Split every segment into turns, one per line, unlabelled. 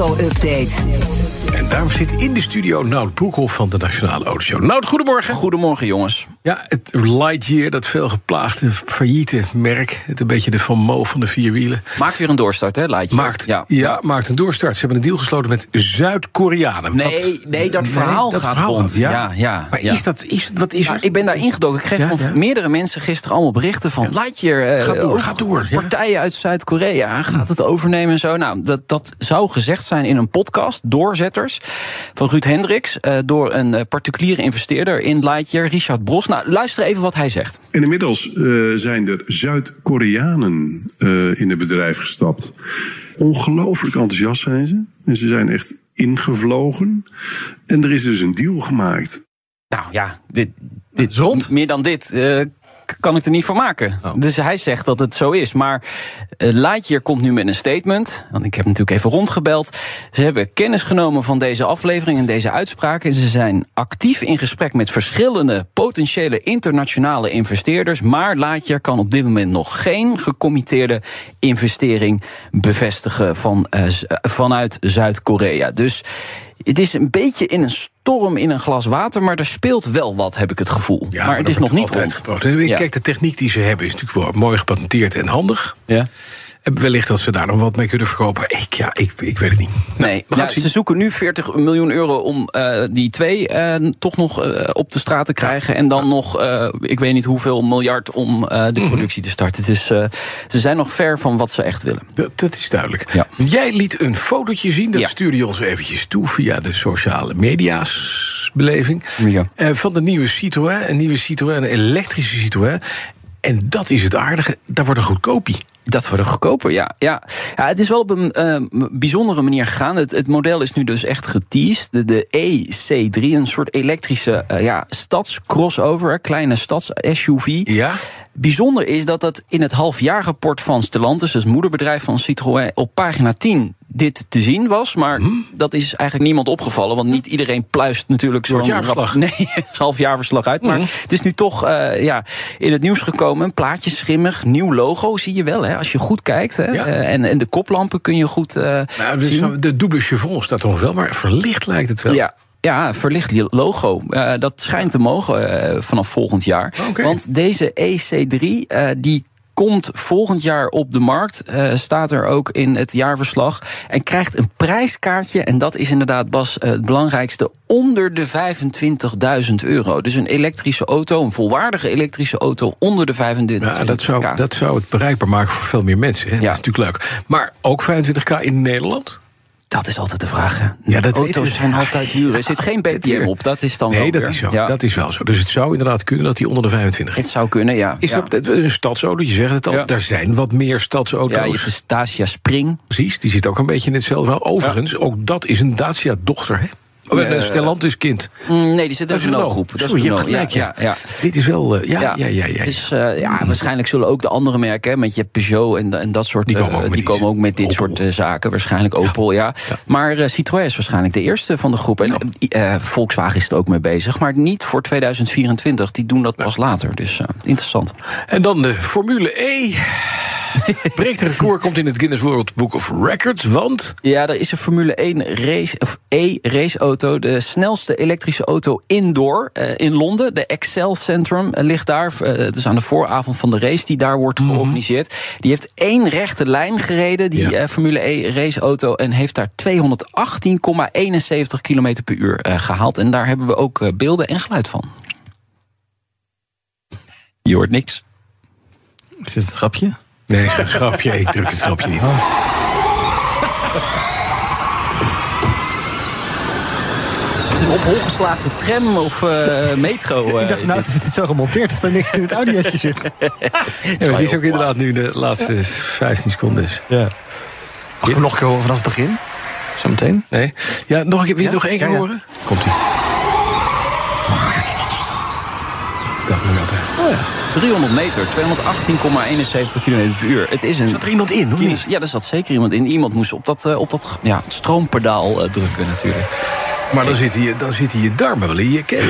auto-update.
En daarom zit in de studio Nout Broekhoff van de Nationale Autoshow. Nout, goedemorgen.
Goedemorgen, jongens.
Ja, het Lightyear, dat veel geplaagde, failliete merk. Het een beetje de Van Mo van de vierwielen.
Maakt weer een doorstart, hè, Laatje?
Maakt, ja. maakt een doorstart. Ze hebben een deal gesloten met Zuid-Koreanen.
Nee,
Wat-
nee, dat verhaal gaat rond.
Ja,
Ja, ja,
Maar
ja.
is dat, is, wat is
Ja,
er?
ik ben daar ingedoken. Ik kreeg
Ja,
van
ja.
meerdere mensen gisteren allemaal berichten van... Lightyear, eh,
Gaat door,
ook
gaat door, ja.
partijen uit Zuid-Korea, gaat het overnemen en zo. Nou, dat, dat zou gezegd zijn in een podcast, Doorzetters, van Ruud Hendricks... eh, door een eh, particuliere investeerder in Lightyear, Richard Bros. Nou, luister even wat hij zegt.
En inmiddels eh, zijn er Zuid-Koreanen eh, in het bedrijf gestapt. Ongelooflijk enthousiast zijn ze. En ze zijn echt ingevlogen. En er is dus een deal gemaakt.
Nou ja, dit, dit Meer dan dit. eh, k- kan ik er niet voor maken. Dus hij zegt dat het zo is. Maar eh, Lightyear komt nu met een statement. Want ik heb natuurlijk even rondgebeld. Ze hebben kennis genomen van deze aflevering en deze uitspraken. En ze zijn actief in gesprek met verschillende eh, potentiële internationale investeerders. Maar Lightyear kan op dit moment nog geen gecommitteerde investering bevestigen van, eh, z- eh, vanuit Zuid-Korea. Dus het is een beetje in een storm in een glas water, maar er speelt wel wat, heb ik het gevoel.
Ja,
maar, het
dat
is nog
wordt
niet
altijd
rond.
geboden. Ik
Ja.
Kijk, de techniek die ze hebben is natuurlijk wel mooi gepatenteerd en handig.
Ja.
En wellicht dat ze daar nog wat mee kunnen verkopen. Ik, ja, ik, ik weet het niet.
Nee,
gaan
nou,
het zien.
ze zoeken nu 40 miljoen euro om eh, die twee eh, toch nog eh, op de straat te krijgen. En dan nog, eh, ik weet niet hoeveel miljard om eh,
Mhm.
de productie te starten. Dus eh, ze zijn nog ver van wat ze echt willen.
Dat, dat is duidelijk.
Ja.
Jij liet een fotootje zien. Dat
Ja.
stuurde je ons eventjes toe via de sociale media's beleving.
Ja.
Eh, van de nieuwe Citroën. Een nieuwe Citroën, een elektrische Citroën. En dat is het aardige. Daar wordt een goedkopie.
Dat wordt een goedkoper, ja. ja. ja het is wel op een eh, bijzondere manier gegaan. Het, het model is nu dus echt geteased. De, de EC3, een soort elektrische eh, ja, stadscrossover, hè, kleine stads-SUV.
Ja.
Bijzonder is dat dat in het halfjaarrapport van Stellantis, dus het moederbedrijf van Citroën, op pagina 10 dit te zien was. Maar dat is eigenlijk niemand opgevallen, want niet iedereen pluist natuurlijk zo'n
Soort jaarverslag.
rap- Nee, halfjaarverslag uit. Maar het is nu toch eh, ja, in het nieuws gekomen. Een plaatje schimmig, nieuw logo zie je wel hè, als je goed kijkt. Hè,
Ja.
Eh, en, en de koplampen kun je goed eh,
Nou, dus
zien.
zo- de dubbele chevron staat er nog wel, maar verlicht lijkt het wel.
Ja. Ja, verlicht je logo. Eh, dat schijnt te mogen eh, vanaf volgend jaar.
Oh, Oké.
Want deze EC3, eh, die komt volgend jaar op de markt. eh, staat er ook in het jaarverslag. En krijgt een prijskaartje. En dat is inderdaad, Bas, eh, het belangrijkste. Onder de 25.000 euro. Dus een elektrische auto, een volwaardige elektrische auto... onder de 25.000
Ja, dat zou, dat zou het bereikbaar maken voor veel meer mensen. Hè? Dat is natuurlijk leuk. Maar ook 25k in Nederland?
Dat is altijd de vraag. hè.
Ja, dat dus weten we.
Auto's zijn altijd duur. Er zit geen BTM op. Dat is dan
Nee,
wel
dat
weer.
is, zo,
Ja,
dat is wel zo. Dus het zou inderdaad kunnen dat die onder de 25
Het zou kunnen, ja.
Is
ja.
dat dat- een stadsauto? Je zegt het al,
Ja.
daar zijn wat meer stadsauto's.
Ja, je hebt de Stasia Spring.
Precies, die zit ook een beetje in hetzelfde verhaal. Overigens, ook dat is een Dacia-dochter, hè? Oh,
Ja.
een Stellantis kind.
Mm, Nee, die zit in de
Renault.
groep. Dat is
Sorry, je hebt
Renault,
gelijk, ja.
ja, ja.
Dit is wel... eh, ja, ja,
Ja.
ja, ja. ja. Mm.
Dus eh, ja, waarschijnlijk zullen ook de andere merken, hè, met je Peugeot en, en dat soort...
Die komen
eh,
ook met
die
iets.
komen ook met dit
Opel.
soort eh, zaken, waarschijnlijk Opel, ja. Maar eh, Citroën is waarschijnlijk de eerste van de groep. En eh, eh, Volkswagen is er ook mee bezig, maar niet voor 2024. Die doen dat pas later, dus eh, interessant.
En dan de Formule E. Breekt record komt in het Guinness World Book of Records, want...
Ja, er is een Formule 1 race, of E-raceauto. De snelste elektrische auto indoor eh, in Londen. De Excel Centrum eh, ligt daar. eh, Het is aan de vooravond van de race die daar wordt georganiseerd. Die heeft één rechte lijn gereden, die
Ja.
eh, Formule E raceauto. En heeft daar 218,71 km per uur eh, gehaald. En daar hebben we ook eh, beelden en geluid van. Je hoort niks.
Is dit het grapje?
Nee, is een grapje. Ik druk het grapje niet.
Oh. Het is een op hol geslaagde tram of eh, metro. eh,
ik dacht, nou, het is zo gemonteerd dat er niks in het audiootje zit.
Ja, maar het is ook inderdaad nu de laatste 15 seconden. is.
Ja. Mag ik hem nog een keer horen vanaf het begin? Zometeen?
Nee? Ja, nog een keer. Wil je het nog één keer
Ja, ja.
horen? Komt-ie. Dat doe ik altijd.
300 meter, 218,71 km per uur. Het is een.
Zat er iemand in, of niet?
Ja, er zat zeker iemand in. Iemand moest op dat, eh, op dat ja, stroompedaal eh, drukken, natuurlijk.
Maar dan zitten je, dan zitten je darmen wel in je keel.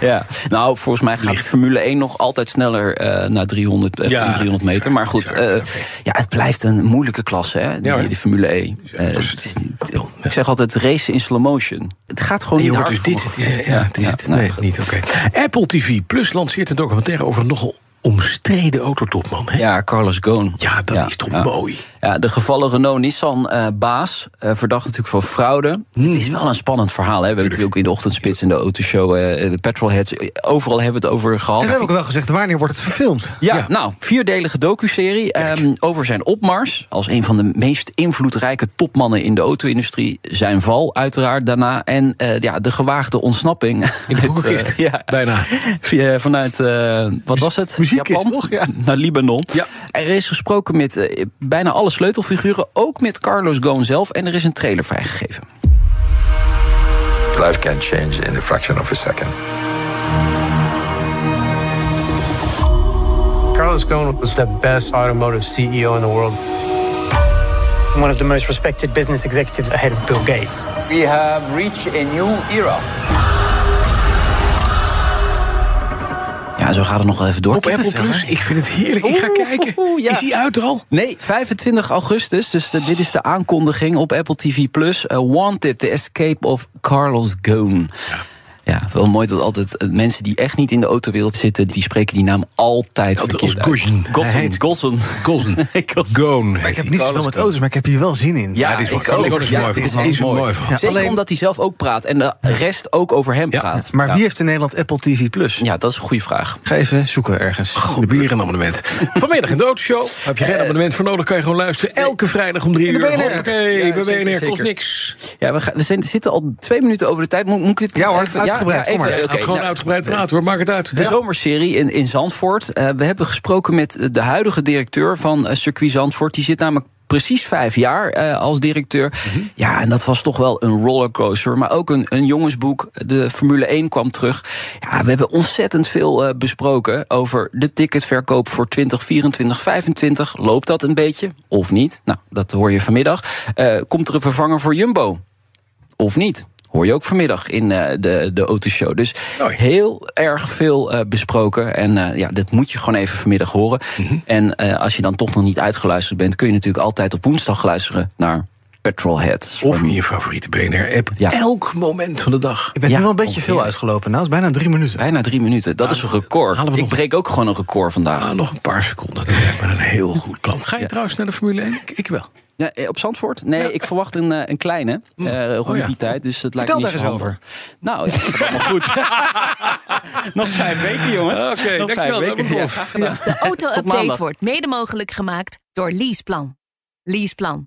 ja, nou, volgens mij gaat Formule 1 nog altijd sneller eh, na 300, eh,
Ja,
dan 300 meter. Maar goed, eh, ja, het blijft een moeilijke klasse, hè, die,
Ja, hoor.
die Formule Eh, 1. ik zeg altijd racen in slow motion. Het gaat gewoon
En je
niet
hoort
hard.
dus dit.
voor
Het
me.
is, ja, het is
ja,
het.
nou,
Nee,
goed.
niet oké. Apple TV Plus lanceert een documentaire over een nogal omstreden autotopman. Hè?
Ja, Carlos Ghosn.
Ja, dat
Ja,
is toch
ja.
mooi.
Ja, de gevallen Renault-Nissan-baas, eh, verdacht natuurlijk van fraude.
Hmm. Hm.
Het is wel een spannend verhaal. Hè? We hebben het natuurlijk in de ochtendspits in de autoshow, eh, de petrolheads, eh, overal hebben we het over gehad.
En we hebben ook wel gezegd, wanneer wordt het verfilmd?
Ja, nou, vierdelige docuserie ehm, over zijn opmars. Als een van de meest invloedrijke topmannen in de auto-industrie. Zijn val, uiteraard, daarna. En eh, ja, de gewaagde ontsnapping.
In de
uit,
boekenkist.
eh, ja,
Bijna.
Via- vanuit, eh, wat was het?
muziekkist,
Japan?
toch? Ja.
Naar Libanon.
Ja.
Er is gesproken met eh, bijna alle sleutelfiguren. Ook met Carlos Ghosn zelf. En er is een trailer vrijgegeven.
Life can change in a fraction of a second.
Carlos Ghosn was the best automotive CEO in the world.
one of the most respected business executives ahead of Bill Gates.
we have reached a new era.
Ja, zo gaat het nog wel even door.
Op Apple
Kippenvel,
Plus,
hè?
ik vind het heerlijk. Ik ga
Oeh,
kijken.
oeh, ja.
Is die uit er al?
Nee, 25 augustus. Dus eh, dit is de aankondiging op Apple TV Plus. Eh, Wanted: The Escape of Carlos Ghosn. Ja. wel mooi dat altijd eh, mensen die echt niet in de autowereld zitten, die spreken die naam altijd
Dat-
verkeerd
als
uit.
Ghosn. Hij
Gossen.
heet
Gossen.
Golden.
Gossen.
Gone.
Ik heb niet zoveel met auto's, maar ik heb hier wel zin in.
Ja, dit is wel
ik
grappig.
ook.
Dat is mooi.
dit
Dat is
echt
een mooi verhaal.
Zeker
Alleen-
omdat hij zelf ook praat en de rest ook over hem praat.
Maar wie heeft in Nederland Apple TV+. Plus?
Ja, dat is een goede vraag.
Ga even zoeken ergens.
Goed, weer een abonnement. Vanmiddag in de Autoshow. Heb je geen abonnement voor nodig, kan je gewoon luisteren. Elke vrijdag om drie
de
uur.
BNR.
Oké, bij BNR.
zeker,
Kost
zeker.
niks.
Ja, we, gaan, we zijn, zitten al twee minuten over de tijd. Moet, moet ik dit
Ja hoor,
even,
uitgebreid. Kom maar.
oké,
Laat
Laat gewoon
nou,
uitgebreid praten hoor, maak eh, het uit.
De zomerserie in, in Zandvoort. Eh, we hebben gesproken met eh, de huidige directeur van eh, Circuit Zandvoort. Die zit namelijk precies vijf jaar eh, als directeur. Ja, en dat was toch wel een rollercoaster. Maar ook een, een jongensboek. De Formule 1 kwam terug. Ja, we hebben ontzettend veel eh, besproken over de ticketverkoop voor 2024, 25. Loopt dat een beetje of niet? Nou, dat hoor je vanmiddag. Eh, komt er een vervanger voor Jumbo? of niet. Hoor je ook vanmiddag in eh, de, de autoshow. Dus
Mooi.
heel erg veel eh, besproken. En eh, ja, dat moet je gewoon even vanmiddag horen.
Mhm.
En eh, als je dan toch nog niet uitgeluisterd bent... kun je natuurlijk altijd op woensdag luisteren naar Petrolheads.
Of in je favoriete BNR-app.
Ja.
Elk moment van de dag.
Ik ben
Ja,
nu wel
Oh,
een beetje veel uitgelopen. Nou, het is bijna drie minuten.
Bijna drie minuten. Dat is een record.
halen we
Ik
nog-
breek ook gewoon een record vandaag.
Ah, nog een paar seconden. Dat lijkt me een heel goed plan. Ga je trouwens naar de Formule 1? Ik, ik wel. Mm.
Ja, eh, op Zandvoort? Nee, ik verwacht een, eh, een kleine eh, rond
Oh, ja.
die tijd. Dus dat lijkt
Vertel
me niet
daar
zo
eens
handig. Nou, ja, dat gaat allemaal goed. Nog vijf weken, jongens.
Oké,
Nog vijf
dankjewel,
weken.
dat
Ja,
beloof.
graag gedaan.
De
Tot maandag.
auto-update wordt mede mogelijk gemaakt door Leaseplan. Leaseplan.